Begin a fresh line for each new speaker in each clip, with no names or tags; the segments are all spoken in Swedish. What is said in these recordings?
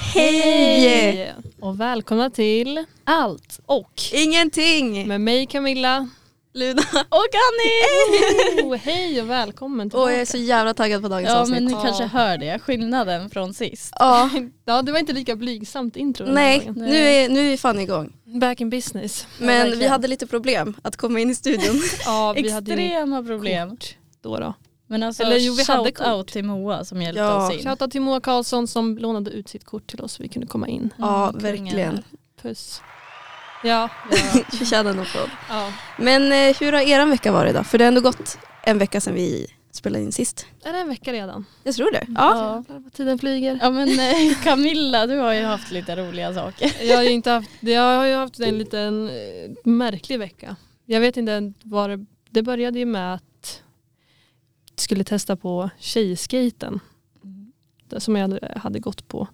Hej!
Och välkomna till
Allt
Och
Ingenting!
med mig Camilla.
Luna och Annie!
Oh, hej och välkommen
Och jag
tillbaka.
är så jävla taggad på dagens
Ja
avsnitt.
men ni
Ja.
kanske hör det, skillnaden från sist.
Ja,
Ja, det var inte lika blygsamt intro. den här
nej,
gången.
nu är, nu är vi fan igång.
Back in business.
Men vi
verkligen. hade
hade lite problem att komma in i studion.
Ja, vi hade ju
Extrema problem.
kort då. då.
Men alltså
Eller jo, vi hade
shout
kort.
out till Moa som hjälpte
Ja,
oss in.
Shoutout till Moa Karlsson som lånade ut sitt kort till oss så vi kunde komma in.
ja,
kungen.
verkligen.
Puss. Ja.
Förtjänar en applåd.
ja.
Men eh, hur har eran vecka varit då? För det har ändå gått en vecka sedan vi spelade in sist.
Är det en vecka redan?
Jag tror det. Ja.
Ja.
Jävlar vad Tiden flyger.
Ja men eh, Camilla du har ju haft lite roliga saker.
Jag har ju, inte haft, jag har ju haft en liten eh, märklig vecka. Jag vet inte vad det, det började ju med att jag skulle testa på tjejskaten. Det som jag hade, hade gått på.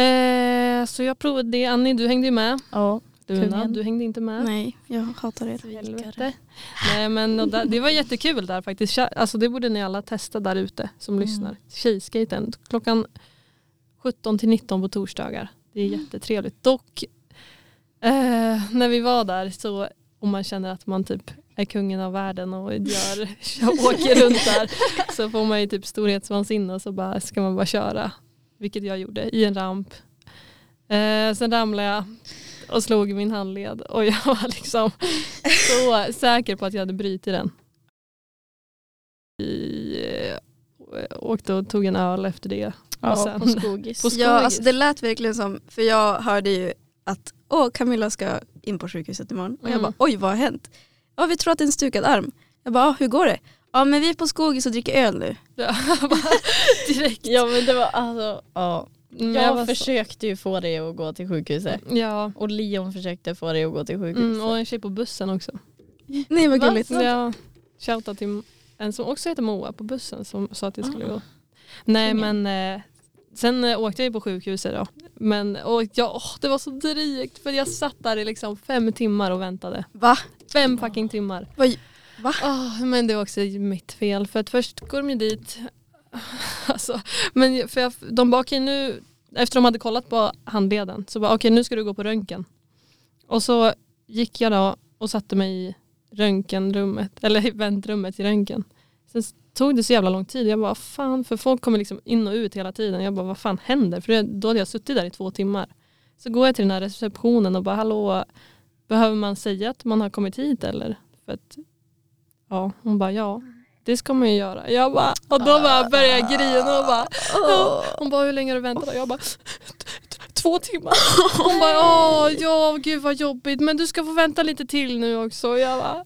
Eh, så jag provade det. Annie du hängde ju med.
Ja.
Luna
Kungen.
du hängde inte med.
Nej, jag hatar er.
Helvete. Nej, men och där, det var jättekul där faktiskt. Tja- Alltså, det borde ni alla testa där ute som
Mm.
lyssnar. Tjejskaten klockan 17 till 19 på torsdagar. Det är
Mm.
jättetrevligt. Dock eh, när vi var där så om man känner att man typ är kungen av världen och gör, åker runt där så får man ju typ storhetsvansinne och så bara, ska man bara köra. Vilket jag gjorde i en ramp. Eh, sen ramlade jag och slog min handled och jag var liksom så säker på att jag hade brutit den. Vi eh, åkte och tog en öl efter det.
Ja,
Och sen-
på skogis.
På skogis.
Ja, alltså det lät verkligen som, för jag hörde ju att åh, Camilla ska in på sjukhuset imorgon. Och jag
Mm.
bara, oj vad har hänt? Ja, vi tror att det är en stukad arm. Jag bara, ah, hur går det? Ja, men vi är på skogis och dricker öl nu.
Ja, bara direkt.
Ja men det var alltså, ja.
Mm,
Jag,
var så-
försökte ju få dig att gå till sjukhuset.
Ja,
Och Leon försökte få dig att gå till sjukhuset.
mm, och en tjej på bussen också.
Nej vad
Va?
gulligt.
Så jag shoutade till en som också heter Moa på bussen som sa att jag
Ah.
skulle gå. Nej
Ingen.
men eh, sen eh, åkte jag ju på sjukhuset då. Men och jag, åh, det var så drygt för jag satt där i liksom fem timmar och väntade.
Va?
Fem fucking timmar.
Oj, va?
Åh, men det var också mitt fel för att först går de ju dit. Alltså, men för jag, de bara okej nu, efter de hade kollat på handleden så bara okej nu ska du gå på röntgen. Och så gick jag då och satte mig i röntgenrummet, eller i väntrummet i röntgen. Sen s- tog det så jävla lång tid. Jag bara fan, för folk kommer liksom in och ut hela tiden. Jag bara vad fan händer? För det- då hade jag suttit där i två timmar. Så går jag till den här receptionen och bara hallå, behöver man säga att man har kommit hit eller? För att, ja, hon bara ja, det ska man ju göra. Jag bara, och då bara började jag grina och bara Ja. Hon bara, hur länge har du väntat? då?" Jag bara, två timmar. Hon bara, åh, ja gud vad jobbigt men du ska få vänta lite till nu också. Och Jag bara,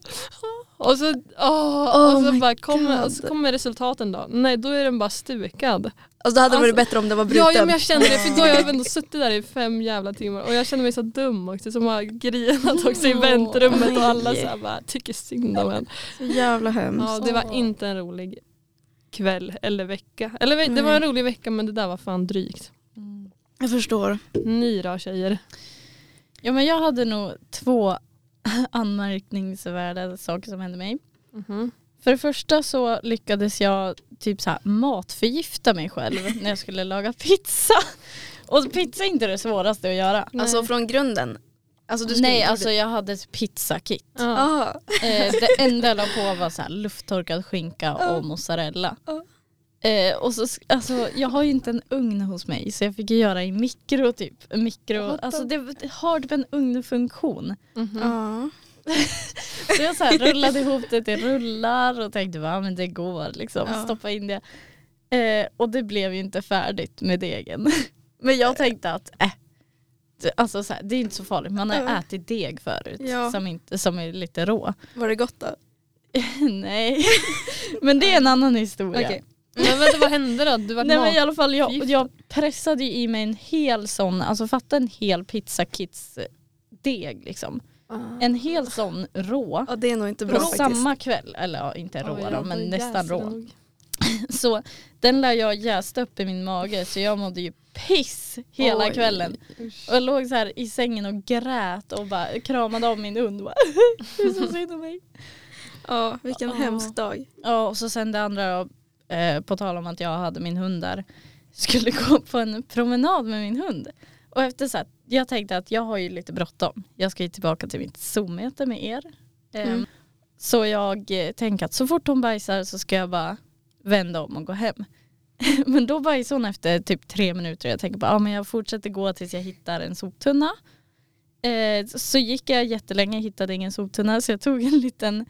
"Åh." och så, åh,
Oh
och så,
my
bara, kommer,
God.
och så kommer resultaten då. Nej, då är den bara stukad.
Alltså det hade varit
Alltså-
bättre om det var bruten.
Ja, ja, men jag kände det för då har jag ändå suttit där i fem jävla timmar och jag kände mig så dum också som har grinat också i
Åh,
väntrummet och alla
nej.
så här bara tycker synd om en.
Så jävla
Mm.
hemskt.
Ja, det var inte en rolig kväll eller vecka. Eller ve- det var en rolig vecka men det där var fan drygt.
Mm.
Jag förstår.
Ni då tjejer?
Ja men jag hade nog två anmärkningsvärda saker som hände mig.
Mhm.
För det första så lyckades jag typ så här matförgifta mig själv när jag skulle laga pizza. Och pizza är inte det svåraste att göra.
Alltså från grunden. Alltså, du skulle
Nej
inte
alltså
gjort
jag hade ett pizzakit.
det.
Ja.
Ah,
Eh, det enda jag la på var så här lufttorkad skinka och mozzarella.
Ja.
Eh, och så, sk- alltså, jag har ju inte en ugn hos mig så jag fick ju göra i mikro typ. Mikro,
What the-
alltså det det har typ en ugnfunktion.
Mhm.
ah.
Så jag så här rullade ihop det till rullar och tänkte va men det går liksom.
Ja.
Stoppa in det. Eh, och det blev ju inte färdigt med degen. Men jag tänkte att äh, det, alltså så här, det är inte så farligt. Man har
Ja.
ätit deg förut
Ja.
som, inte, som är lite rå.
Var det gott då?
Nej. Men det är en annan historia.
Okej.
Men vänta vad hände då? Du var
Nej men i alla fall jag,
matförgiftad.
jag pressade ju i mig en hel sån, alltså fatta en hel pizzakits deg liksom. En hel sån rå.
Ja, det är nog inte bra
På
faktiskt.
samma kväll, eller ja, inte rå
Ah. Oj,
då,
jag
men
får
nästan
jäsa
rå.
nog.
Så den lär jag jäst upp i min mage så jag mådde ju piss hela
Oj.
kvällen. Och jag låg så här i sängen och grät och bara kramade av min hund. Bara, Det är så synd om mig.
Ja, vilken
Ja.
hemsk dag.
Ja och så sen det andra då, eh, på tal om att jag hade min hund där. skulle gå på en promenad med min hund. Och efter så här, jag tänkte att jag har ju lite bråttom. Jag ska ju tillbaka till mitt Zoom-möte med er. Ehm,
Mm.
Så jag eh, tänker att så fort hon bajsar så ska jag bara vända om och gå hem. men då bajsar hon efter typ tre minuter och jag tänker bara, ja men jag fortsätter gå tills jag hittar en soptunna. Eh, så gick jag jättelänge, hittade ingen soptunna så jag tog en liten,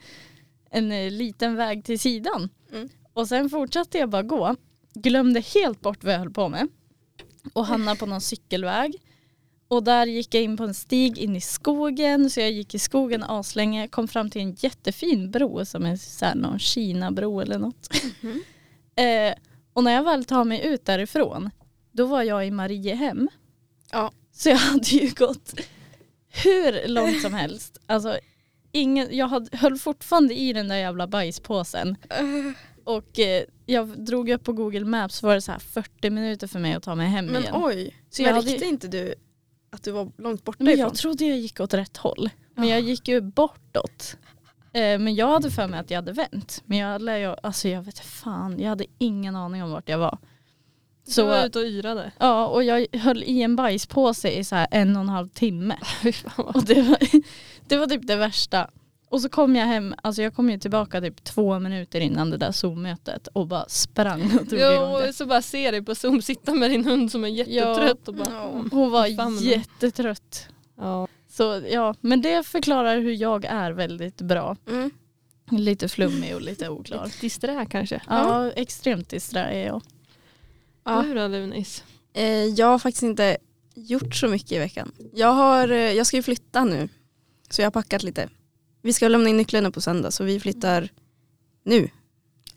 en eh, liten väg till sidan.
Mm.
Och sen fortsatte jag bara gå. Glömde helt bort vad jag höll på med. Och hamnade på någon cykelväg. Och där gick jag in på en stig in i skogen. Så jag gick i skogen aslänge. Kom fram till en jättefin bro som är så här någon Kina-bro eller något.
Mhm.
eh, och när jag väl tar mig ut därifrån. Då var jag i Mariehem.
Ja.
Så jag hade ju gått hur långt som helst. Alltså, ingen, jag hade, höll fortfarande i den där jävla bajspåsen. Och eh, jag drog upp på Google Maps så var det så här 40 minuter för mig att ta mig hem
Men
igen.
oj, så
Men
jag
hade-
märkte inte du att du var långt borta
Men
ifrån?
jag trodde jag gick åt rätt håll. Men jag gick ju bortåt. Eh, Men jag hade för mig att jag hade vänt. Men jag, lär ju- alltså jag vet fan, jag hade ingen aning om vart jag var.
Så
Så-
du var ute och yrade.
Ja, och jag höll i en bajspåse i så här en och en halv timme.
Fy fan vad-
Och det, var, det var typ det värsta. Och så kom jag hem, alltså jag kom ju tillbaka typ två minuter innan det där Zoom-mötet och bara sprang och tog igång
Jo,
det.
och så bara ser dig på Zoom sitta med din hund som är jättetrött och bara...
Ja.
mm.
Hon var
Fan, men-
jättetrött.
Ja.
Så ja, men det förklarar hur jag är väldigt bra.
Mm.
Lite flummig och lite oklar.
Lite disträ kanske.
Ja, extremt disträ är jag.
Ja.
Du då Lunis?
Eh, jag har faktiskt inte gjort så mycket i veckan. Jag, har, eh, jag ska ju flytta nu, så jag har packat lite. Vi ska lämna in nycklarna på söndag, så vi flyttar nu.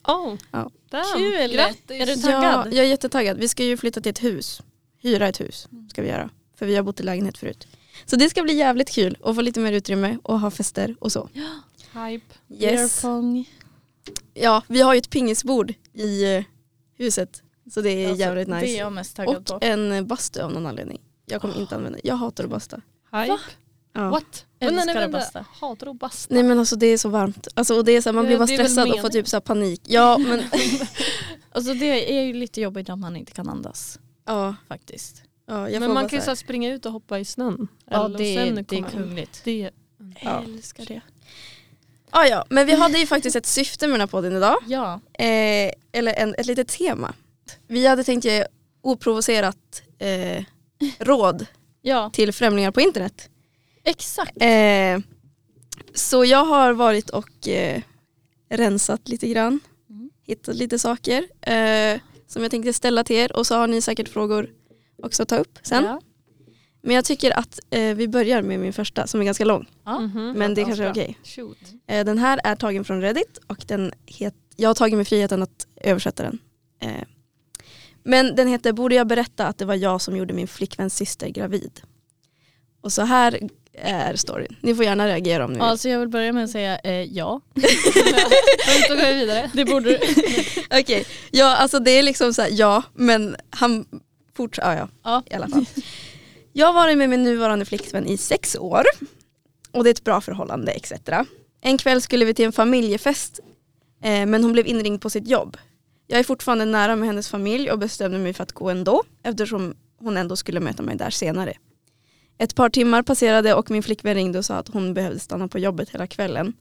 Oh,
Ja.
damn.
Kul!
Grattis!
Är du
Ja,
taggad?
jag är jättetaggad. Vi ska ju flytta till ett hus. Hyra ett hus ska vi göra. För vi har bott i lägenhet förut. Så det ska bli jävligt kul att få lite mer utrymme och ha fester och så.
Hype.
Yes.
Beerpong.
Ja, vi har ju ett pingisbord i eh, huset. Så det är
Alltså,
jävligt
Det är
nice.
jag mest taggad på.
Och en eh, bastu av någon anledning. Jag kommer inte använda Jag hatar att basta.
Hype.
Ja.
What?
Älskar
Vänta, nej,
att
vänta.
basta.
Hatar att basta.
Nej men alltså det är så varmt. Alltså, och det är så här, man
Ja,
blir bara
Eh, det är väl
stressad och får
meningen.
typ så här panik. Ja men
Alltså det är ju lite jobbigt om man inte kan andas
ja,
faktiskt.
ja, jag får
Men man
bara
kan ju
så
så
här,
här springa ut och hoppa i snön.
Ja,
Eller-
det,
och sen
är- det är
komma-
kungligt. Mm.
Det,
Ja.
älskar det.
ja, Ah, ja men vi hade ju faktiskt ett syfte med den här podden idag.
Ja,
Eh, eller en, ett litet tema. Vi hade tänkt ge oprovocerat eh, råd
ja
till främlingar på internet.
exakt.
Eh, så jag har varit och eh, rensat lite grann.
Mm.
Hittat lite saker eh, som jag tänkte ställa till er och så har ni säkert frågor också att ta upp sen.
Ja.
Men jag tycker att eh, vi börjar med min första som är ganska lång.
Ja.
Mhm.
Men det
Mm. Ja,
kanske är
bra.
okej.
Shoot.
Eh, den här är tagen från Reddit och den het, jag har tagit mig friheten att översätta den. Eh, men den heter Borde jag berätta att det var jag som gjorde min flickväns syster gravid? Och så här är storyn. Ni får gärna reagera om ni vill.
Alltså jag vill börja med att säga eh, ja.
Då går vi vidare.
Det borde du.
Okej, ja alltså det är liksom så här, ja men han fortsätter, ja, ja
Ja.
i alla fall. Jag har varit med min nuvarande flickvän i sex år och det är ett bra förhållande etc. En kväll skulle vi till en familjefest eh, men hon blev inringd på sitt jobb. Jag är fortfarande nära med hennes familj och bestämde mig för att gå ändå eftersom hon ändå skulle möta mig där senare. Ett par timmar passerade och min flickvän ringde och sa att hon behövde stanna på jobbet hela kvällen.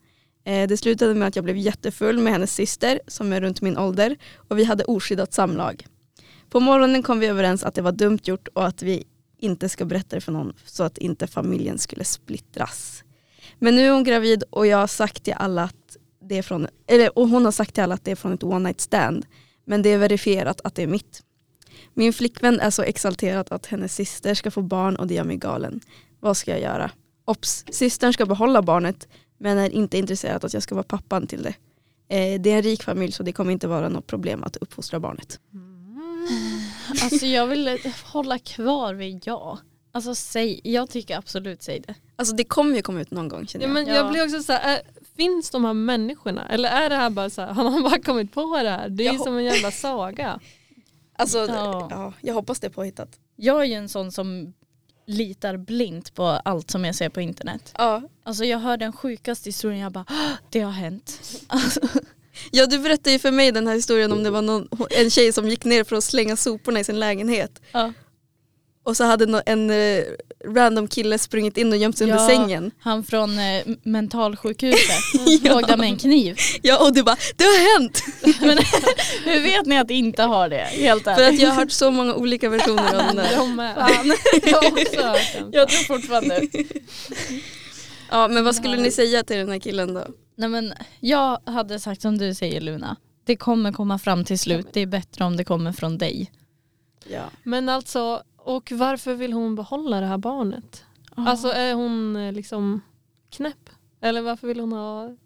Eh, Det slutade med att jag blev jättefull med hennes syster som är runt min ålder och vi hade oskyddat samlag. På morgonen kom vi överens att det var dumt gjort och att vi inte ska berätta det för någon så att inte familjen skulle splittras. Men nu är hon gravid och jag har sagt till alla att det är från, eller, och hon har sagt till alla att det är från ett one night stand. Men det är verifierat att det är mitt. Min flickvän är så exalterad att hennes syster ska få barn och det gör mig galen. Vad ska jag göra? Ops, systern ska behålla barnet men är inte intresserad att jag ska vara pappan till det. Eh, det är en rik familj så det kommer inte vara något problem att uppfostra barnet.
Alltså jag vill eh, hålla kvar vid ja. Alltså säg, jag tycker absolut säg det.
Alltså det kommer ju komma ut någon gång känner
Ja,
jag.
men
Ja.
Jag blir också så här, är, finns de här människorna? Eller är det här bara så här, har man bara kommit på det här? Det är
Jag
ju som en jävla saga.
alltså, ja.
Ja.
jag hoppas det är påhittat.
Jag är ju en sån som litar blint på allt som jag ser på internet.
Ja.
Alltså jag hör den sjukaste historien jag bara "Ah, det har hänt. Alltså,
Ja du berättade ju för mig den här historien om det var någon, en tjej som gick ner för att slänga soporna i sin lägenhet
Ja.
och så hade nå- en eh, random kille sprungit in och gömt sig under
Ja.
sängen.
Han från eh, mentalsjukhuset låg där med en kniv.
Ja och du bara det har hänt!
Men hur vet ni att inte har det? Helt
För
ärligt.
att jag har hört så många olika versioner av den där.
De är,
Fan.
jag har också hört den.
Jag tror fortfarande
Ja men vad skulle ni säga till den här killen då?
Nej men jag hade sagt som du säger Luna. Det kommer komma fram till slut. Det är bättre om det kommer från dig.
Ja.
Men alltså, och varför vill hon behålla det här barnet? Alltså är hon eh, liksom knäpp? Eller varför vill hon ha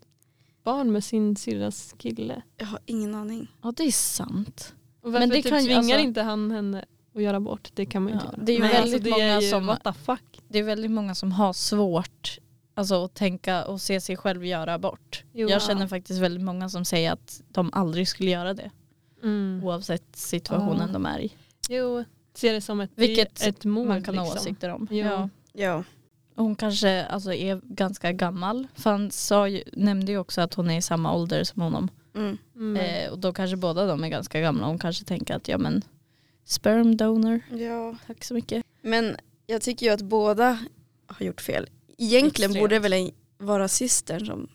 barn med sin syrras kille?
Jag har ingen aning.
Ja det är sant.
Och varför
Men det
typ
kan ju-
tvingar
alltså-
inte han henne att göra abort? Det kan man ju inte
Ja,
göra.
det är ju
typ. Men alltså,
väldigt
det
många
är ju,
som-
What the fuck?
Det är väldigt många som har svårt alltså, att tänka och se sig själv göra abort.
Jo.
Jag känner faktiskt väldigt många som säger att de aldrig skulle göra det.
Mm.
Oavsett situationen
Ja.
de är i.
Jo, ser det som ett,
Vilket
ett mord.
Man kan ha
liksom.
åsikter om.
Jo.
Ja.
Ja.
Och Hon kanske alltså, är ganska gammal. För han sa ju, nämnde ju också att hon är i samma ålder som honom.
Mm.
Mm.
Eh, och då kanske båda de är ganska gamla. Hon kanske tänker att ja men sperm donor,
ja.
tack så mycket.
Men jag tycker ju att båda har gjort fel. Egentligen
Extremt.
borde det väl en- vara systern som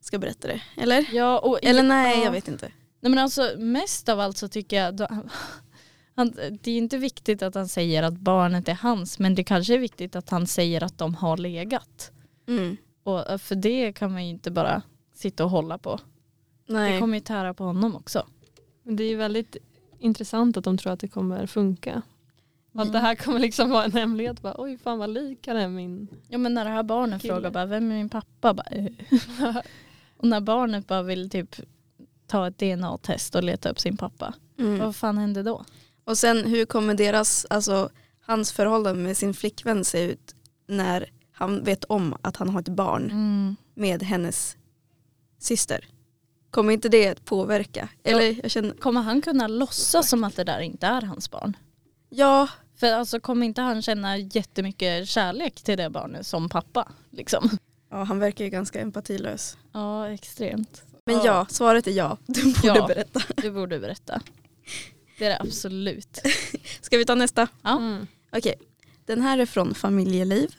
ska berätta det, eller?
Ja, och
Eller nej,
ja.
jag vet inte.
Nej men alltså mest av allt så tycker jag då, han, det är ju inte viktigt att han säger att barnet är hans men det kanske är viktigt att han säger att de har legat.
Mm.
Och, eh, för det kan man ju inte bara sitta och hålla på. Det
Nej.
kommer ju tära på honom också.
Men det är ju väldigt intressant att de tror att det kommer funka.
Mm.
Att det här kommer liksom vara en hemlighet. Bara, Oj, fan vad lik han är min.
Ja men när det här barnet
Kille.
frågar bara vem är min pappa? Bara, "Eh." och när barnet bara vill typ ta ett DNA-test och leta upp sin pappa.
Mm.
Vad fan hände då?
Och sen hur kommer deras, alltså hans förhållande med sin flickvän se ut när han vet om att han har ett barn
Mm.
med hennes syster? Kommer inte det att påverka? Eller jag känner,
Kommer han kunna låtsas som att det där inte är hans barn?
ja,
För alltså kommer inte han känna jättemycket kärlek till det barnet som pappa? Liksom?
ja han verkar ju ganska empatilös.
Ja, extremt.
Men
Ja.
ja, svaret är ja. Du borde
Ja.
berätta.
Du borde berätta. Det är det absolut.
Ska vi ta nästa?
Ja.
Mm.
Okej, den här är från Familjeliv.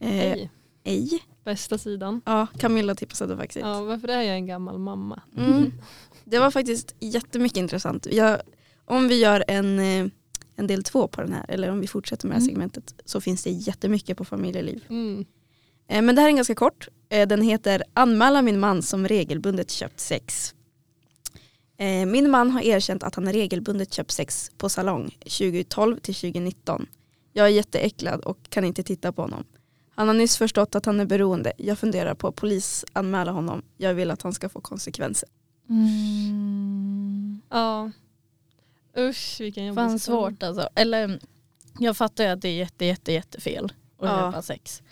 Eh,
Hej,
ej.
bästa sidan.
Ja, Camilla tipsade faktiskt.
Ja, varför är jag en gammal mamma?
Mm. Det var faktiskt jättemycket intressant. Jag, om vi gör en, eh, en del två på den här, eller om vi fortsätter med det här
Mm.
segmentet, så finns det jättemycket på familjeliv.
Mm.
Eh, Men det här är ganska kort. Eh, Den heter Anmäla min man som regelbundet köpt sex. Eh, Min man har erkänt att han regelbundet köpt sex på salong 2012 till 2019. Jag är jätteäcklad och kan inte titta på honom. Han har nyss förstått att han är beroende. Jag funderar på att polisanmäla honom. Jag vill att han ska få konsekvenser.
Mm.
Ja. Usch vilken jobbig
Fan
situation.
svårt alltså. Eller jag fattar ju att det är jätte, jätte, jättefel att
Ja.
köpa sex.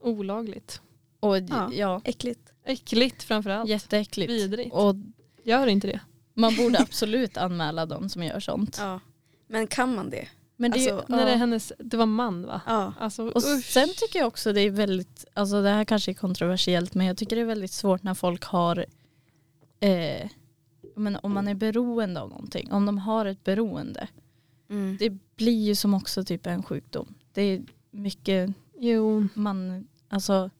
Olagligt.
Och
Ja.
ja, ja
Äckligt.
Äckligt framförallt.
jätteäckligt.
Vidrigt.
Och
Gör inte det.
man borde absolut anmäla de som gör sånt.
Ja. Men kan man det?
Men det, är ju-
Alltså,
När det
ja.
är hennes, det var man va?
Ja.
Alltså
Och
usch.
sen tycker jag också det är väldigt, alltså det här kanske är kontroversiellt men jag tycker det är väldigt svårt när folk har, eh, men om man är beroende av någonting, om de har ett beroende.
Mm.
Det blir ju som också typ en sjukdom. Det är mycket
Jo.
man, alltså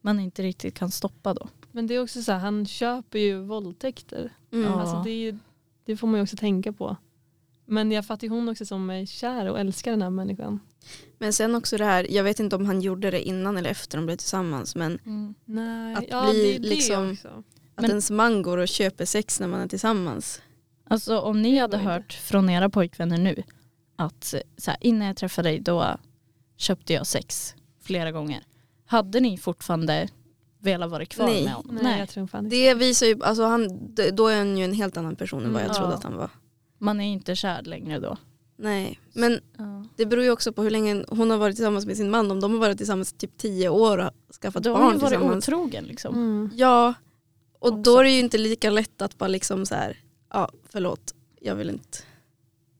man inte riktigt kan stoppa då.
Men det är också så här, han köper ju våldtäkter.
Mm.
Ja.
Alltså det, är, ju- det får man ju också tänka på. Men jag fattar ju hon också som är kär och älskar den här människan.
Men sen också det här, jag vet inte om han gjorde det innan eller efter de blev tillsammans men
Mm. Nej,
Att
ja,
bli
det är det
liksom-
också.
att
Men-
ens man går och köper sex när man är tillsammans.
Alltså om ni hade
var ju
hört från era pojkvänner nu att eh, så här, innan jag träffade dig då köpte jag sex flera gånger. Hade ni fortfarande velat vara kvar
Nej.
med honom?
Nej, jag tror fan inte.
Det visar ju, alltså han, d- då är han ju en helt annan person än vad jag
Mm,
trodde
ja.
att han var.
Man är inte kär längre då.
Nej, men
Ja.
det beror ju också på hur länge hon har varit tillsammans med sin man. Om de har varit tillsammans i typ tio år och skaffat
Då har man
barn
ju varit
tillsammans.
otrogen liksom.
Mm.
Ja, och då
Också.
är det ju inte lika lätt att bara liksom så här, ja förlåt, jag vill inte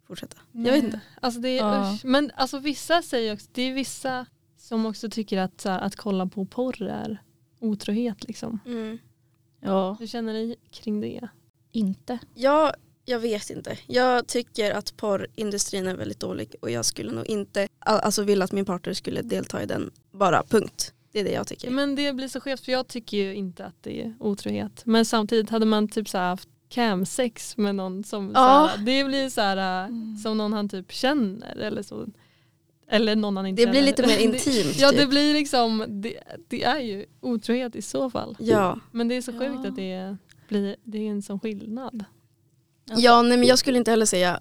fortsätta.
Mm.
Jag vet inte.
Alltså det är,
Ja.
usch. Men alltså vissa säger också, det är vissa
Mm.
som också tycker att, så här, att kolla på porr är otrohet liksom.
Ja,
Hur känner ni kring det?
inte.
Ja, jag vet inte. Jag tycker att porrindustrin är väldigt dålig och jag skulle nog inte al- alltså vilja att min partner skulle delta i den. Bara punkt. Det är det jag tycker.
Men det blir så skevt för jag tycker ju inte att det är otrohet. Men samtidigt hade man typ så här haft camsex med någon som så
Ja. Mm.
här, det blir så här äh, som någon han typ känner eller så. Eller någon han inte
det blir
känner.
lite mer
Det-
intimt.
Ja det
typ.
blir liksom, det, det är ju otrohet i så fall.
ja.
Men det är så
Ja.
sjukt att det blir, det är en sån skillnad.
ja nej, men jag skulle inte heller säga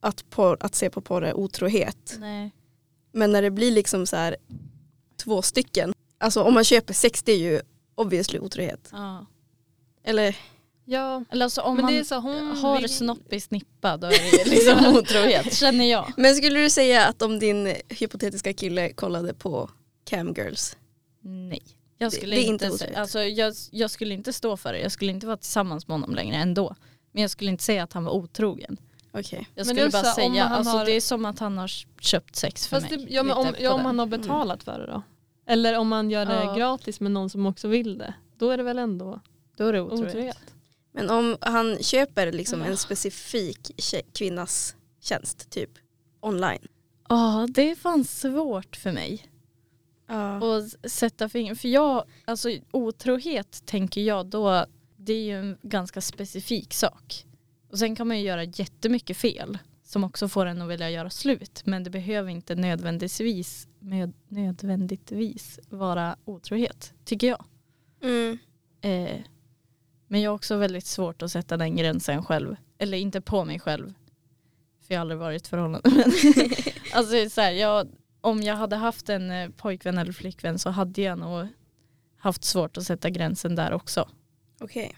att, porr, att se på porr är otrohet.
Alltså, Nej.
Men när det blir liksom så här två stycken. Alltså om man köper sex det är ju obviously otrohet.
Ja.
Eller
Ja,
Eller alltså om
men
man
det är så Mm. hon
har
vill-
snopp i snippa då är det liksom otrohet känner jag.
men skulle du säga att om din hypotetiska kille kollade på camgirls?
Nej. Jag
Det-
skulle,
det är
inte,
inte otroligt.
alltså, jag, jag skulle inte stå för det. Jag skulle inte vara tillsammans med honom längre ändå. Men jag skulle inte säga att han var otrogen.
Okej.
Jag
Men det
skulle
är
bara
också om
säga,
han
alltså,
har-
det är som att han har köpt sex för
Fast det,
mig.
ja, men om,
Lite på
ja, om
den.
han
Mm.
har betalat för det då. Eller om man gör det
Ja.
gratis med någon som också vill det. Då är det väl ändå
Då är det otrohet.
otrohet.
Men om han köper liksom en specifik tje- kvinnas tjänst typ online.
Ja, det är fan svårt för mig.
Ja.
Och s- sätta fingret. För jag, alltså otrohet tänker jag då, det är ju en ganska specifik sak. Och sen kan man ju göra jättemycket fel som också får en att vilja göra slut. Men det behöver inte nödvändigtvis, med, nödvändigtvis vara otrohet, tycker jag.
Mm.
Eh, men jag har också väldigt svårt att sätta den gränsen själv. Eller inte på mig själv. För jag har aldrig varit i ett förhållande. Men alltså det är så här, jag, om jag hade haft en eh, pojkvän eller flickvän så hade jag nog haft svårt att sätta gränsen där också.
Okej.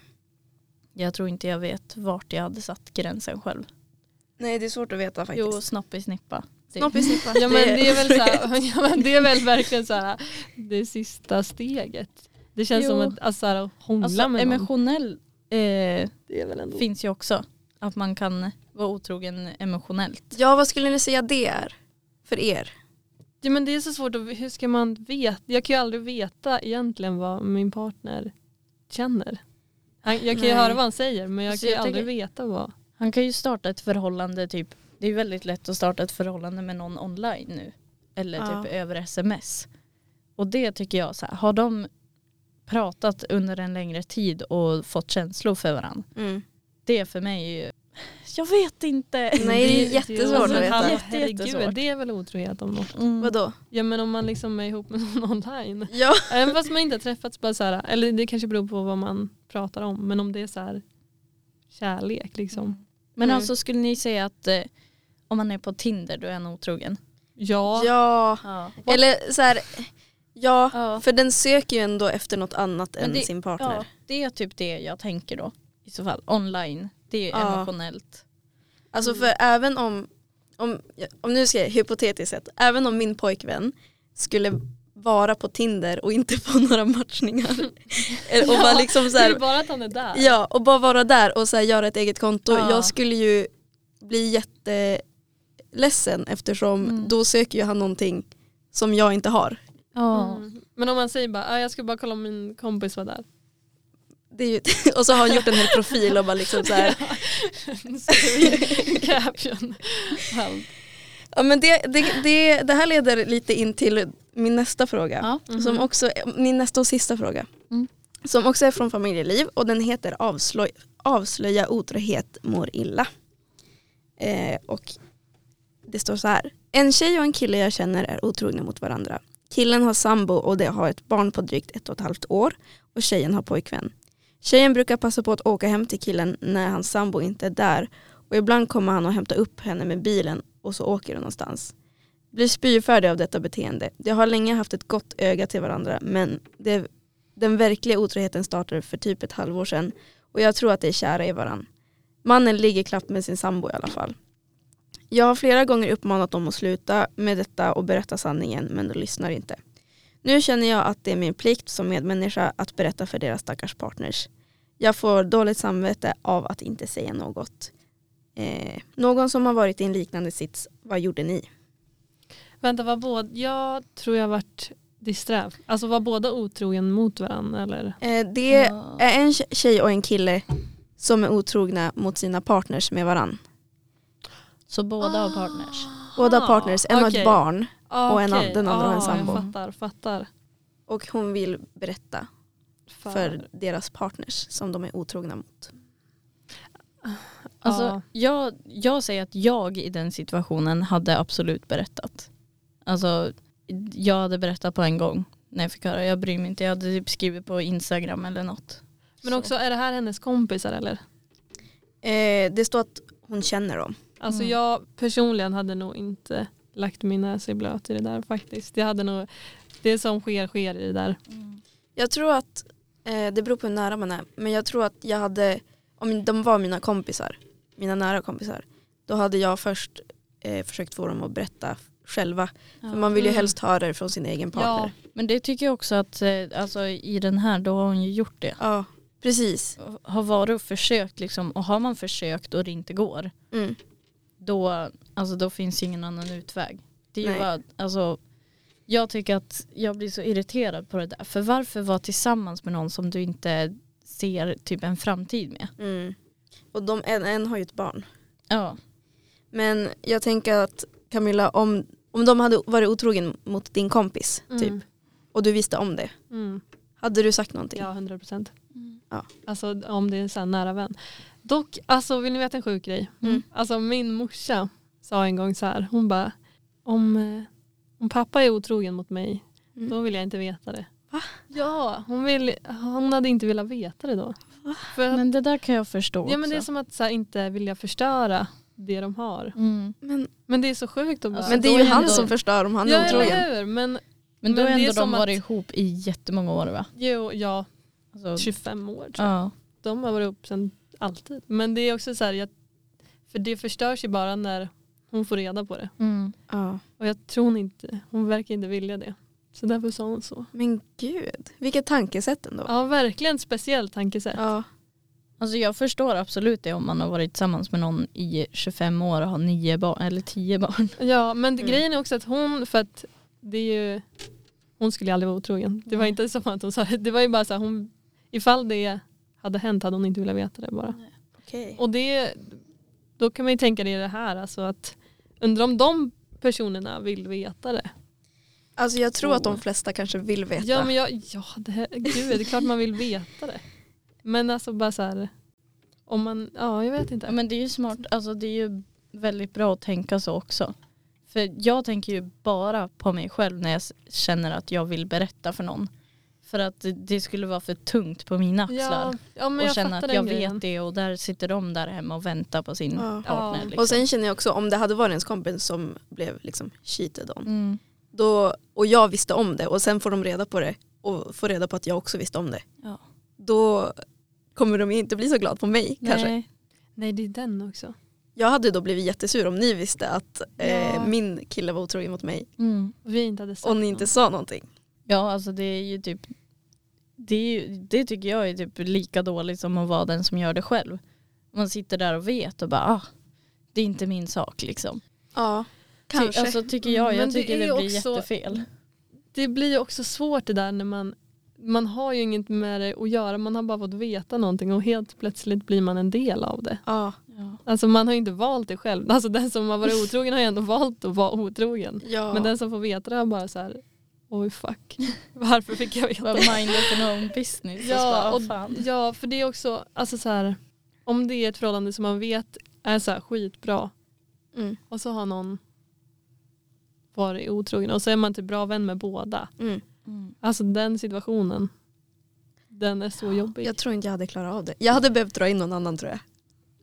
Jag tror inte jag vet vart jag hade satt gränsen själv.
Nej det är svårt att veta faktiskt.
Jo, snopp i snippa. Det-
Snopp i snippa.
Ja, men det, är väl så här, ja, men det är väl verkligen så här, det sista steget. Det känns
Jo.
som att alltså, så här, hångla med
Alltså,
någon. Oh.
emotionell eh,
Det är väl ändå.
finns ju också. Att man kan vara otrogen emotionellt.
Ja vad skulle ni säga det är? För er?
Ja, men det är så svårt, att, hur ska man veta? Jag kan ju aldrig veta egentligen vad min partner känner. Han- Jag kan ju
Nej.
höra vad han säger men jag
Alltså,
kan ju
jag
aldrig veta vad.
Han kan ju starta ett förhållande typ, det är ju väldigt lätt att starta ett förhållande med någon online nu. Eller
Ja.
typ över sms. Och det tycker jag så här, har de pratat under en längre tid och fått känslor för varandra.
Mm.
Det för mig är ju, jag vet inte.
Nej det är
Alltså,
jättesvårt att
han-
veta.
Jätte-
Herregud,
jättesvårt.
det är väl otrohet om något.
Mm.
Vadå?
Ja men om man liksom är ihop med någon online.
Ja.
Även fast man inte har träffats bara så här, eller det kanske beror på vad man pratar om, men om det är så här kärlek liksom.
Men
Mm.
alltså skulle ni säga att eh, om man är på Tinder då är han otrogen?
Ja,
Ja.
Ja.
Eller så här, ja,
Ja.
för den söker ju ändå efter något annat
Men
än
det-
sin partner.
det är typ det jag tänker då. I så fall online, det är ju
Ja.
emotionellt.
Alltså
Mm.
för även om, om, om nu ska jag hypotetiskt sett, även om min pojkvän skulle vara på Tinder och inte få några matchningar eh, och bara liksom så
det är
här,
bara att han är där.
ja och bara vara där och så här göra ett eget konto,
Ja.
jag skulle ju bli jätteledsen eftersom
Mm.
då söker ju han någonting som jag inte har.
Mm. Men om man säger bara, "Ah, jag ska bara kolla om min kompis var där.
Det är ju, och så har han gjort en hel profil och bara liksom så här,
Caption. Allt.
Ja, men det, det, det, det här leder lite in till min nästa fråga.
Ja.
Som också, min nästa och sista fråga.
Mm.
Som också är från familjeliv och den heter Avslöj, Avslöja otrohet mår illa. Eh, och det står så här. En tjej och en kille jag känner är otrogna mot varandra. Killen har sambo och de har ett barn på drygt ett och ett halvt år och tjejen har pojkvän. Tjejen brukar passa på att åka hem till killen när hans sambo inte är där och ibland kommer han och hämtar upp henne med bilen och så åker de någonstans. Blir spyfärdig av detta beteende. De har länge haft ett gott öga till varandra men det, den verkliga otroheten startade för typ ett halvår sedan och jag tror att de är kära i varandra. Mannen ligger knappt med sin sambo i alla fall. Jag har flera gånger uppmanat dem att sluta med detta och berätta sanningen men de lyssnar inte. Nu känner jag att det är min plikt som medmänniska att berätta för deras stackars partners. Jag får dåligt samvete av att inte säga något. Eh, någon som har varit i en liknande sits, vad gjorde ni?
Vänta, vad båd? Jag tror jag varit disträ? Alltså var båda otrogen mot varandra eller?
Eh, det
Ja.
är en tjej och en kille som är otrogna mot sina partners med varann.
Så båda har partners.
Båda
Ah,
partners, en har
okej.
ett barn
Ah,
och en an-
okej.
den andra har en
Ah,
sambo.
Jag fattar, fattar.
och hon vill berätta
Fan.
för deras partners som de är otrogna mot.
Alltså,
Ja.
jag, jag säger att jag i den situationen hade absolut berättat. Alltså, jag hade berättat på en gång när jag fick höra. Jag bryr mig inte, jag hade typ skrivit på Instagram eller något.
Men
Så.
också är det här hennes kompisar eller?
Eh, det står att hon känner dem.
Alltså
Mm.
jag personligen hade nog inte lagt min näsa i blöt i det där faktiskt. Jag hade nog, det som sker sker i det där.
Jag tror att, eh, det beror på hur nära man är, men jag tror att jag hade, om de var mina kompisar, mina nära kompisar, då hade jag först eh, försökt få dem att berätta själva.
Ja.
För man vill ju
Mm.
helst höra det från sin egen partner.
Men det tycker jag också att eh, alltså, i den här, då har hon ju gjort det.
Ja, precis.
Har varit och försökt liksom, och har man försökt och det inte går,
Mm.
då, alltså, då finns ju ingen annan utväg. Det är ju
Nej.
bara, alltså, jag tycker att jag blir så irriterad på det där. För varför vara tillsammans med någon som du inte ser typ en framtid med?
Mm. Och de, en, en har ju ett barn.
Ja.
Men jag tänker att Camilla, om, om de hade varit otrogen mot din kompis typ, och du visste om det,
Mm.
hade du sagt någonting?
Ja, 100 procent.
Mm.
Ja.
Alltså om det är en sån här nära vän. Dock, alltså vill ni veta en sjuk grej?
Mm.
Alltså min morsa sa en gång så här, hon bara, om, eh, om pappa är otrogen mot mig,
Mm.
då vill jag inte veta det.
Va?
Ja, hon, vill, hon hade inte velat veta det då. För att,
Men det där kan jag förstå
ja, men det är
också.
som att så här, inte vilja förstöra det de har.
Mm.
Men,
Men det är så sjukt att bara,
Alltså,
men det är
då
ju
är det
han
ändå-
som förstör om han
ja,
är otrogen.
eller hur? Men
Men då
Men
har
det är
ändå de
som att-
varit ihop i jättemånga år va?
jo, ja,
Alltså,
25 år tror jag.
ja.
De har varit ihop sedan alltid. Men det är också så här, jag, för det förstörs ju bara när hon får reda på det.
Mm.
Ja.
Och jag tror hon inte, hon verkar inte vilja det. Så därför sa hon så.
Men gud, vilket tankesätt ändå.
Ja, verkligen ett speciellt tankesätt.
Ja.
Alltså jag förstår absolut det om man har varit tillsammans med någon i 25 år och har nio barn eller tio barn.
Ja, men
Mm.
grejen är också att hon, för att det är ju, hon skulle ju aldrig vara otrogen. Det var
Nej.
inte som att hon sa det, det var ju bara så här, hon, ifall det hade hänt hade hon inte velat veta det bara.
Okej.
Och det, då kan man ju tänka det i det här, alltså att undrar om de personerna vill veta det.
Alltså jag tror att de
Oh.
flesta kanske vill veta.
Ja, men jag, ja det, här- gud, det är klart man vill veta det. Men alltså bara så här, om man, ja jag vet
Ja,
inte.
men det är ju smart, alltså det är ju väldigt bra att tänka så också. För jag tänker ju bara på mig själv när jag s- känner att jag vill berätta för någon. För att det- det skulle vara för tungt på mina axlar.
Ja, ja, men
och
jag
känna
fattar
att
den
jag
grejen.
vet det och där sitter de där hemma och väntar på sin
Ja.
partner.
Ja.
Liksom.
Och sen känner jag också om det hade varit ens kompis som blev liksom cheated on.
mm.
Då, och jag visste om det och sen får de reda på det och får reda på att jag också visste om det.
Ja.
Då kommer de inte bli så glada på mig kanske.
Nej.
Nej det är den också.
Jag hade då blivit jättesur om ni visste att
Ja.
eh, min kille var otrogen mot mig
Mm.
Vi inte hade sagt
och ni inte sa någonting.
Ja alltså det är ju typ det, är ju, det tycker jag är typ lika dåligt som att vara den som gör det själv. Man sitter där och vet och bara ah, det är inte min sak liksom.
Ja,
Ty,
kanske.
alltså tycker jag,
Mm,
jag
men det
tycker det,
är
blir
också-
jättefel.
det blir ju också svårt det där när man man har ju inget med det att göra, man har bara fått veta någonting och helt plötsligt blir man en del av det.
ja.
Ja.
Alltså man har ju inte valt det själv. Alltså den som har varit otrogen har ju ändå valt att vara otrogen.
Ja.
Men den som får veta det har bara så här, oj fuck, varför fick jag veta
Bara
det?
mind your own business.
Ja,
Ja,
och-
och, så bara, "Ah, fan.
Ja, för det är också, alltså så här, om det är ett förhållande som man vet är så här skitbra
Mm,
och så har någon varit otrogen och så är man typ bra vän med båda.
mm.
Mm.
Alltså den situationen, den är så jobbig.
Jag tror inte jag hade klarat av det. Jag hade behövt dra in någon annan tror jag.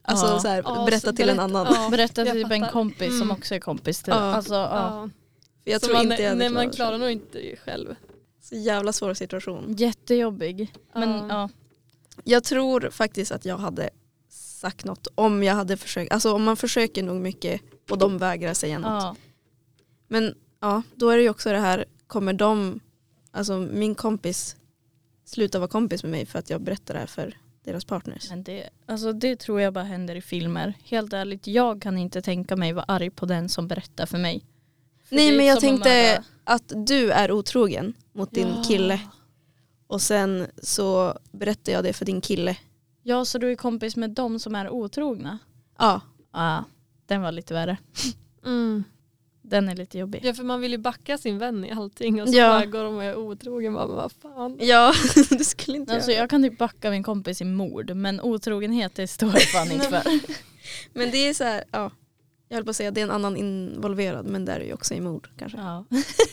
Alltså
Ja.
så här,
Ja,
berätta
så
till en
berätt-
annan.
ja,
Berätta
jag
till typ en
fattar.
kompis som
Mm.
också är kompis till
Ja.
alltså, ja.
Ja.
Jag
Så
tror
man,
inte jag hade
Nej man
klarat
klarar
det.
nog inte det själv.
Så jävla svår situation.
Jättejobbig. Men
Ja.
ja.
Jag tror faktiskt att jag hade sagt något om jag hade försökt. Alltså om man försöker nog mycket och de vägrar säga något.
Ja.
Men ja, då är det ju också det här, kommer de, alltså min kompis sluta vara kompis med mig för att jag berättar det här för deras partners.
Men det, alltså, det tror jag bara händer i filmer. Helt ärligt, jag kan inte tänka mig vara arg på den som berättar för mig. För
Nej
det är
men jag
som om man
tänkte
bara-
att du är otrogen mot din kille. Och sen så berättar jag det för din kille.
Ja, så du är kompis med dem som är otrogna?
Ja,
Ja, den var lite värre.
Mm.
Den är lite jobbig.
Ja för man vill ju backa sin vän i allting och så
Ja.
bara går de och är otrogen. Bara, vad fan.
ja det skulle inte
Alltså
jag.
jag kan typ backa min kompis i mord men otrogenhet det står jag fan inte för.
Men det är så här, ja. Jag höll på att säga det är en annan involverad men där är ju också i mord kanske.
Ja.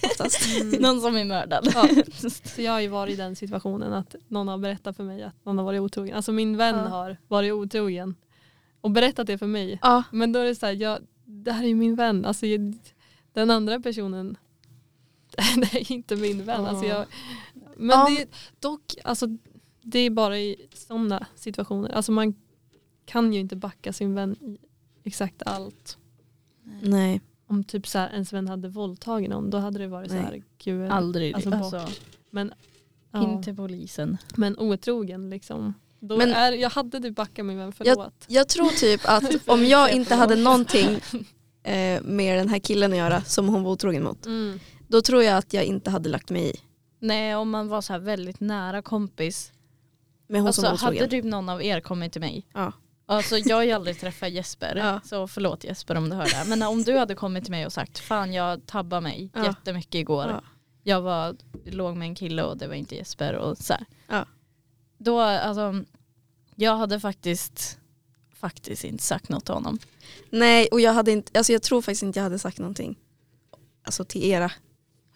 Oftast.
Någon som är mördad.
Mm. Ja. Så jag har ju varit i den situationen att någon har berättat för mig att någon har varit otrogen. Alltså min vän
Ja.
har varit otrogen och berättat det för mig.
Ja,
Men då är det så här, jag, det här är ju min vän. Alltså, jag, den andra personen, det är inte min vän. Alltså, jag, men
Ja.
det, dock, alltså, det är bara i sådana situationer. Alltså, man kan ju inte backa sin vän i exakt allt.
nej.
Om typ så här, ens vän hade våldtagit någon, då hade det varit så här, gud.
Aldrig.
Alltså,
Alltså,
ja.
Inte polisen.
Men otrogen liksom. Då
Men-
är, jag hade du backat min vän, förlåt.
Jag tror typ att om jag inte hade någonting eh, med den här killen att göra som hon var otrogen mot.
Mm.
Då tror jag att jag inte hade lagt mig i
Nej om man var så här väldigt nära kompis.
med hon
Alltså
som var otrogen.
hade typ någon av er kommit till mig.
Ja.
Alltså jag har ju aldrig träffat Jesper.
Ja.
Så förlåt Jesper om du hör det här. Men om du hade kommit till mig och sagt fan jag tabbade mig
Ja.
jättemycket igår.
Ja.
Jag var, låg med en kille och det var inte Jesper och så här.
Ja.
Då alltså jag hade faktiskt faktiskt inte sagt något till honom.
Nej och jag hade inte, alltså jag tror faktiskt inte jag hade sagt någonting. Alltså till era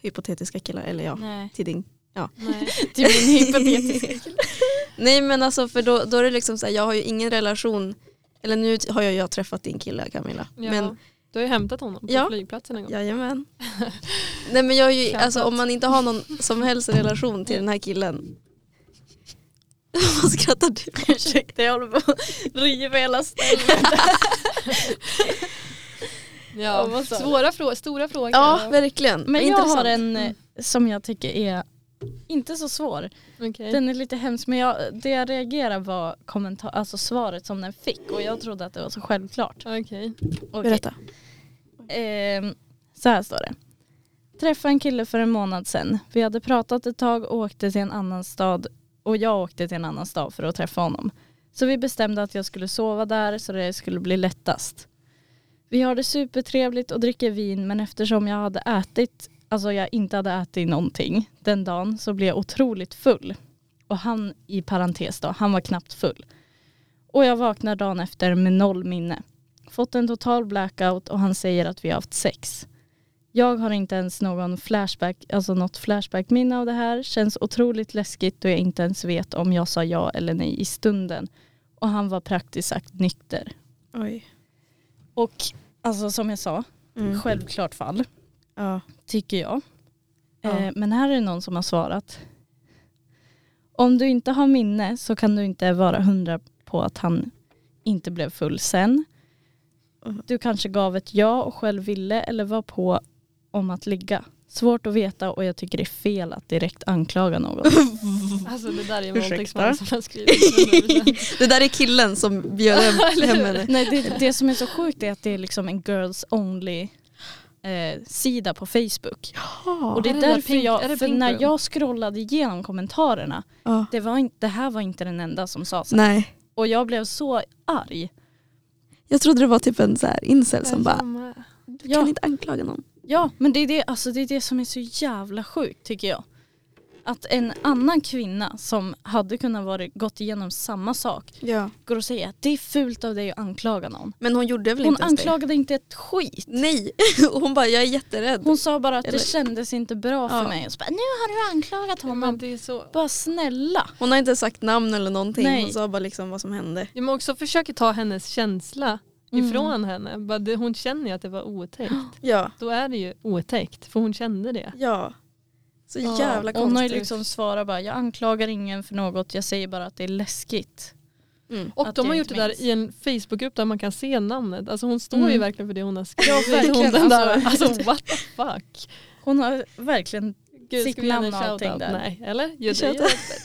hypotetiska killar eller ja,
Nej.
till din.
Nej.
Till min hypotetiska kille.
Nej men alltså för då, då är det liksom så här, jag har ju ingen relation, eller nu har jag, jag har träffat din kille Camilla.
Ja.
Men
du har ju hämtat honom på
Ja.
flygplatsen en gång.
jajamän. Nej men jag har ju,
Kämpat.
alltså om man inte har någon som helst relation till den här killen. Vad skrattar du
Ursäkta jag håller på att riva hela stället. Ja,
Ja,
vad sa du?
svåra frågor, stora frågor.
Ja verkligen. Vad
Men jag har
intressant.
en eh, som jag tycker är inte så svår.
Okej.
Den är lite hemsk men jag, det jag reagerade var kommentar, alltså svaret som den fick och jag trodde att det var så självklart.
Okej.
Okej.
Berätta.
Ehm, så här står det. Träffade en kille för en månad sedan. Vi hade pratat ett tag och åkte till en annan stad och jag åkte till en annan stad för att träffa honom. Så vi bestämde att jag skulle sova där så det skulle bli lättast. Vi har det supertrevligt och dricker vin men eftersom jag hade ätit, alltså jag inte hade ätit någonting den dagen så blev jag otroligt full. Och han, i parentes då, han var knappt full. Och jag vaknar dagen efter med noll minne fått en total blackout och han säger att vi har haft sex. Jag har inte ens någon flashback, alltså något flashbackminne av det här. Känns otroligt läskigt då jag inte ens vet om jag sa ja eller nej i stunden. Och han var praktiskt sagt nykter.
Oj.
Och alltså som jag sa,
Mm.
självklart fall
Ja.
tycker jag.
Ja.
Eh, men här är det någon som har svarat. Om du inte har minne så kan du inte vara hundra på att han inte blev full sen.
Mm.
Mhm.
Du kanske gav ett ja och själv ville eller var på om att ligga. Svårt att veta och jag tycker det är fel att direkt anklaga någon.
Alltså det där är en
Ursäkta.
våldtäktsman som har skrivit.
Det där är killen som bjöd hem, hem henne.
Nej, det, det som är så sjukt är att det är liksom en girls only eh, sida på Facebook. och det är,
Är det där
därför
pink-
jag,
är det
för
pink
när
room?
jag scrollade igenom kommentarerna
Ja.
det, var inte, det här var inte den enda som sa så.
Nej.
Och jag blev så arg.
Jag trodde det var typ en så här incel
Alltså,
som bara, du
Ja.
kan inte anklaga någon.
Ja, men det är det, alltså det är det som är så jävla sjukt tycker jag. Att en annan kvinna som hade kunnat vara, gått igenom samma sak
Ja.
går och säger att det är fult av dig att anklaga någon.
Men hon gjorde väl
Hon
inte ens
anklagade inte ett skit.
det? Nej, Och hon bara jag är jätterädd.
Hon sa bara att
Eller-
det kändes inte bra för
Ja.
mig. Och så bara, nu har du anklagat
Men
honom.
det är så.
Bara snälla.
Hon har inte sagt namn eller någonting,
Nej.
hon sa bara liksom vad som hände.
Jag också försöker ta hennes känsla
Mm.
ifrån henne. Bara det- Hon känner ju att det var otäckt.
Ja,
Då är det ju otäckt för hon kände det.
ja. Så
Ja,
jävla
Hon har ju
konstigt.
liksom svarat bara, jag anklagar ingen för något. Jag säger bara att det är läskigt.
Mm.
Och
Att
de
jag
har gjort
inte
det där
minns.
i en Facebookgrupp där man kan se namnet. Alltså hon står ju
Mm.
verkligen för det hon har skrivit.
verkligen.
Hon den där,
Alltså-
alltså what the fuck.
Hon har verkligen
Gud,
Sitt
ska vi göra en
namn och allting
shoutout?
där.
Nej, eller? Jo, det
Shoutout.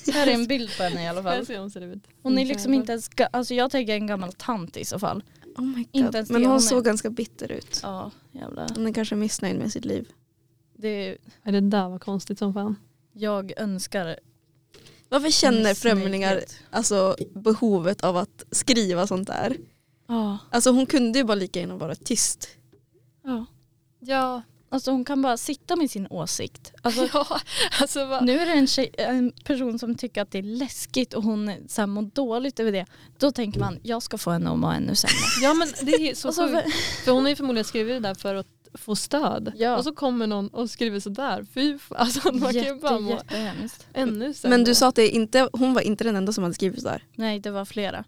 gör
Här är en bild på henne i alla
jag. Jag
fall.
ser hur hon ser ut. Mm.
Hon är liksom inte ens, ga- alltså jag tänker en gammal tant i så fall.
Oh my God.
Inte ens det
Men
hon
hon
är.
såg ganska bitter ut.
Ja, jävlar.
Hon är kanske missnöjd med sitt liv.
Det är,
Ja, Det där var konstigt som fan.
Jag önskar
Varför känner
min
främlingar
snällhet.
alltså, behovet av att skriva sånt där?
Ja.
Alltså hon kunde ju bara lika gärna vara tyst.
ja.
Ja,
Alltså hon kan bara sitta med sin åsikt. Alltså,
ja. Alltså, va?
nu är det en, tjej, en person som tycker att det är läskigt och hon så här, mår dåligt över det. Då tänker man, jag ska få henne att må ännu sämre.
ja men det är så
Alltså,
sjukt. För hon har ju förmodligen skrivit det där för att få stöd.
Ja.
Och så kommer någon och skriver sådär. Fy fan. Alltså, man kan ju bara
jätte,
må
jättehemskt.
ännu sämre.
Men du sa att det inte, hon var inte den enda som hade skrivit sådär.
Nej, det var flera.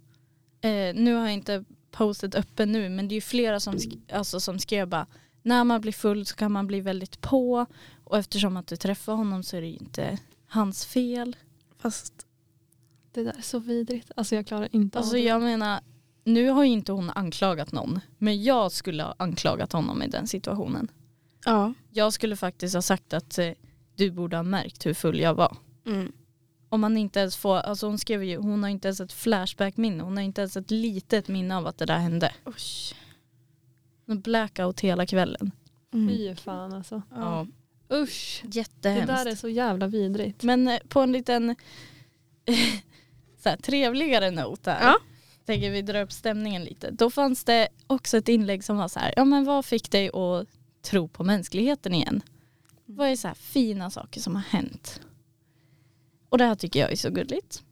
Eh, nu har jag inte postet öppen nu, men det är ju flera som, sk- alltså, som skrev bara när man blir full så kan man bli väldigt på och eftersom att du träffar honom så är det ju inte hans fel.
Fast
det där är så vidrigt. Alltså jag klarar inte
Alltså
av det.
jag menar, nu har ju inte hon anklagat någon, men jag skulle ha anklagat honom i den situationen.
ja.
Jag skulle faktiskt ha sagt att eh, du borde ha märkt hur full jag var.
Mm.
Om man inte ens får, alltså hon skrev ju, hon har inte ens ett flashback-minne, hon har inte ens ett litet minne av att det där hände. Hon blackout hela kvällen.
Mm.
Fy fan alltså.
Ja.
Usch. Det
Jättehemskt.
där är så jävla vidrigt.
Men eh, på en liten så här, trevligare not här,
Ja.
tänker vi dra upp stämningen lite. Då fanns det också ett inlägg som var så här, ja men vad fick dig att tro på mänskligheten igen? Vad är så här fina saker som har hänt? Och det här tycker jag är så gulligt.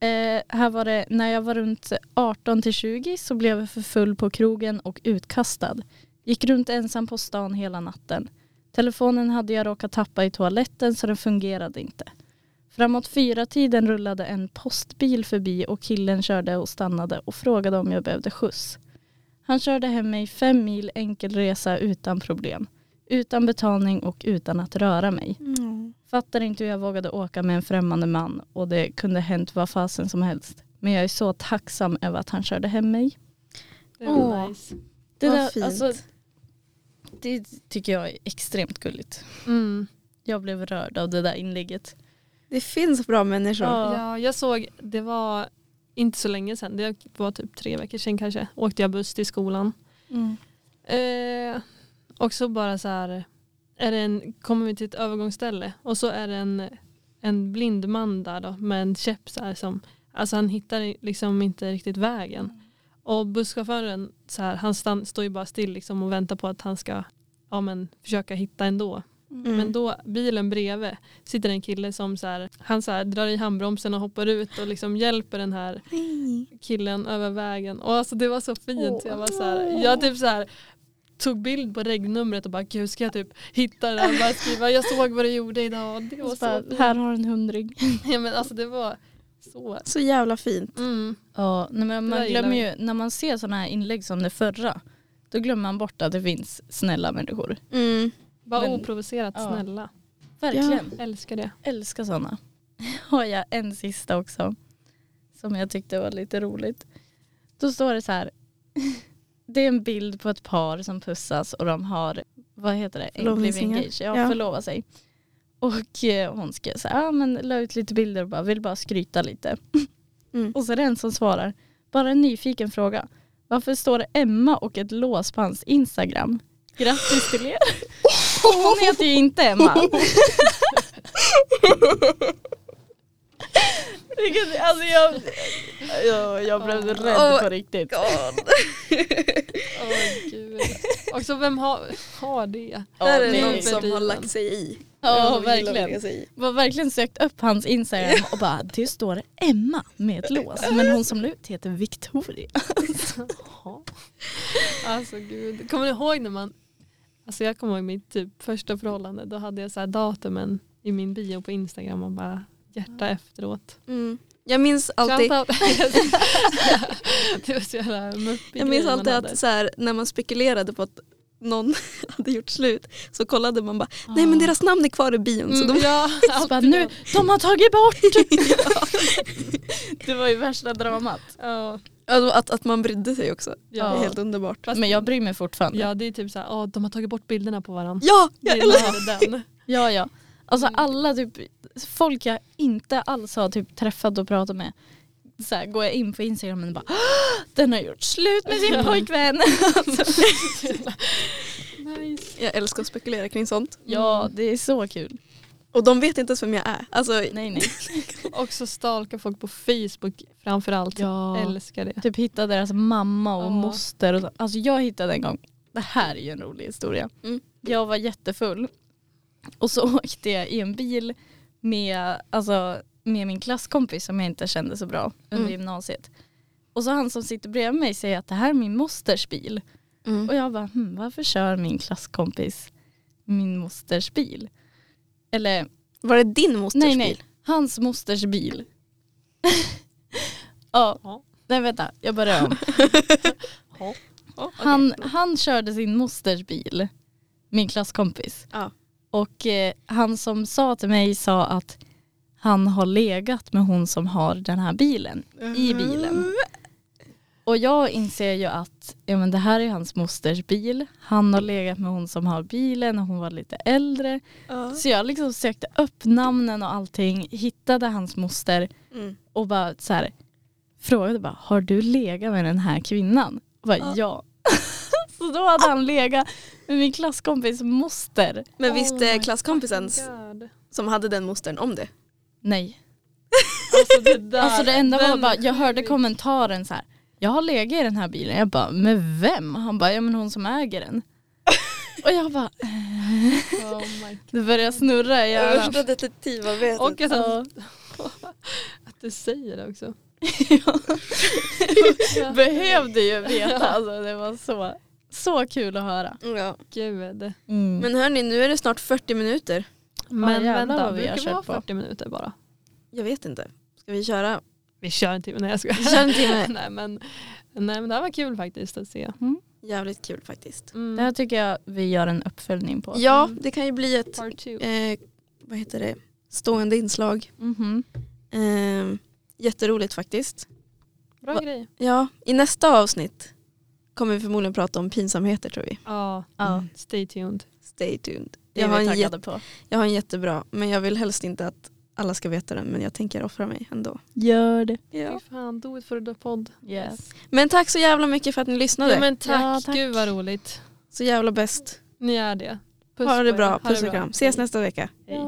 Eh, här var det, när jag var runt 18 till 20 så blev jag för full på krogen och utkastad. Gick runt ensam på stan hela natten. Telefonen hade jag råkat tappa i toaletten så den fungerade inte. Framåt fyra tiden rullade en postbil förbi och killen körde och stannade och frågade om jag behövde skjuts. Han körde hem mig fem mil enkel resa utan problem. Utan betalning och utan att röra mig.
Mm.
Fattar inte hur jag vågade åka med en främmande man och det kunde hänt vad fasen som helst. Men jag är så tacksam över att han körde hem mig.
Det är
Åh.
nice.
Det,
Vad
där,
fint.
Alltså, det tycker jag är extremt gulligt.
Mm.
Jag blev rörd av det där inlägget.
Det finns bra människor.
Ja.
Ja, jag såg, det var inte så länge sedan, det var typ tre veckor sedan kanske, åkte jag buss till skolan.
Mm.
Eh, och så bara så här, är det en, kommer vi till ett övergångsställe och så är det en, en blind man där då med en käpp så här som, alltså han hittar liksom inte riktigt vägen. Och busschauffören, så här, han stann, står ju bara still liksom och väntar på att han ska ja, men, försöka hitta ändå.
Mm.
Men då, bilen bredvid sitter en kille som så här, han så här, drar i handbromsen och hoppar ut och liksom hjälper den här
Nej.
killen över vägen. Och alltså det var så fint.
Åh.
Jag, var så här, jag typ så här, tog bild på regnumret och bara gud ska jag typ hitta det här och bara skriva jag såg vad du gjorde idag. Det var
Och
så,
så bara,
fint.
här har du en hundring.
Ja, men alltså det var så.
Så jävla fint.
Mm.
Ja, nej, men
Det där
man glömmer
gillar
ju, när man ser sådana här inlägg som det förra, då glömmer man bort att det finns snälla människor.
Mm.
Bara
Men-
oprovocerat
ja.
snälla.
Verkligen.
Älskar det.
Älskar sådana. Har jag en sista också, som jag tyckte var lite roligt. Då står det så här, det är en bild på ett par som pussas och de har, vad heter det,
Förlovningsringar.
engaged, ja,
Ja.
förlova sig. Och eh, hon skrev så här, ja men la ut lite bilder och bara, vill bara skryta lite.
Mm.
Och så är det en som svarar, bara en nyfiken fråga. Varför står det Emma och ett lås på hans Instagram? Grattis till er. Och hon heter ju inte Emma. Vilket, alltså jag, jag, jag blev rädd på riktigt.
Åh gud. Och så vem har, har det?
Där är
det
det
är
någon
ju
som har
bedriven.
lagt sig i.
Ja,
Någon som gillar att lägga
verkligen.
sig i.
Var verkligen sökt upp hans Instagram och bara, det står Emma med ett lås. Men hon som la ut heter Victoria.
Jaha. Alltså gud. Kommer ni ihåg när man, alltså jag kommer ihåg mitt typ första förhållande, då hade jag så här datumen i min bio på Instagram och bara hjärta efteråt.
Mm. Jag minns alltid,
Shout out. det var så jävla muppig
jag minns
grej man
alltid
hade.
att så här, när man spekulerade på att någon hade gjort slut så kollade man bara,
Ah.
nej men deras namn är alltså- kvar i bion. Så
Mm,
de,
ja,
Så
alltid
bara, nu, de har tagit bort! det var ju värsta dramat.
Ja,
alltså, att, att man brydde sig också. Det är
ja.
helt underbart.
Fast-
Men jag bryr mig fortfarande.
ja, det är typ så här, "Åh, de har tagit bort bilderna på varandra.
Ja,
Det
jag
är
älskar
bara den.
Ja, ja. Alltså
Mm.
alla typ, folk jag inte alls har typ träffat och pratat med. Så här, går jag in på Instagram och bara "Ah, den har gjort slut med sin pojkvän. alltså,
Nice.
Jag älskar att spekulera kring sånt.
ja, det är så kul.
Och de vet inte ens vem jag är. Alltså,
Nej nej.
Också stalka folk på Facebook framförallt.
Ja.
Älskar det.
Typ hitta deras mamma och
Ja.
moster. Och så. Alltså jag hittade en gång, det här är ju en rolig historia.
Mm.
Jag var jättefull och så åkte jag i en bil med, alltså, med min klasskompis som jag inte kände så bra under
Mm.
gymnasiet. Och så han som sitter bredvid mig säger att det här är min mosters bil.
mm.
Och jag bara, hm, varför kör min klasskompis min mosters bil? Eller
Var det din mosters
Nej, nej.
bil?
Hans mosters bil. ja.
Ja.
Nej vänta, jag börjar om.
Ja. Ja, okej.
Han, han körde sin mosters bil, min klasskompis.
Ja.
Och eh, han som sa till mig sa att han har legat med hon som har den här bilen i
Mm.
bilen. Och jag inser ju att ja, men det här är hans mosters bil. Han har legat med hon som har bilen och hon var lite äldre.
Ja.
Så jag liksom sökte upp namnen och allting, hittade hans moster
Mm.
och bara så här, frågade bara, har du legat med den här kvinnan? Och bara,
Ja.
ja. så då hade han legat med min klasskompis moster.
Men
Oh
visste
my
klasskompisen
Oh God.
som hade den mostern om det?
Nej.
Alltså det där.
Alltså det enda var
den-
bara, jag hörde kommentaren så här, jag har legat i den här bilen. Jag bara, med vem? Han bara, ja men hon som äger den. och jag bara,
Oh my
det börjar snurra i hjärnan.
detektivarbetet.
Och att,
Ja.
han, att du säger det också.
Behövde ju veta. Alltså, det var så, så kul att höra.
ja.
Gud.
Mm. Men hörni, nu är det snart 40 minuter.
Men
jävlar
vänta,
vad vi
vi
har
brukar
kört
vara
på.
40 minuter bara.
Jag vet inte. Ska vi köra?
Vi kör en timme, nej jag skojar.
Vi kör en timme.
nej, men, nej men det här var kul faktiskt att se.
Mm. Jävligt kul faktiskt.
Mm.
Det här tycker jag vi gör en uppföljning på.
Ja,
Mm.
det kan ju bli ett
Part two.
eh, vad heter det? stående inslag.
Mhm.
Eh, jätteroligt faktiskt.
Bra
va-
grej.
Ja, i nästa avsnitt kommer vi förmodligen prata om pinsamheter tror vi.
Ja,
Ja,
stay tuned.
Stay tuned.
det är
Jag har,
vi
en
taggade på.
jät- jag har en jättebra, men jag vill helst inte att alla ska veta den, men jag tänker offra mig ändå.
Gör det.
Fy fan, do it for the podd.
Yes.
Men tack så jävla mycket för att ni lyssnade.
Ja, men tack.
Ja, tack.
gud vad roligt.
Så jävla bäst.
Ni är det.
ha det
på er.
bra,
Ha
puss och kram. Ses nästa vecka.
Hej.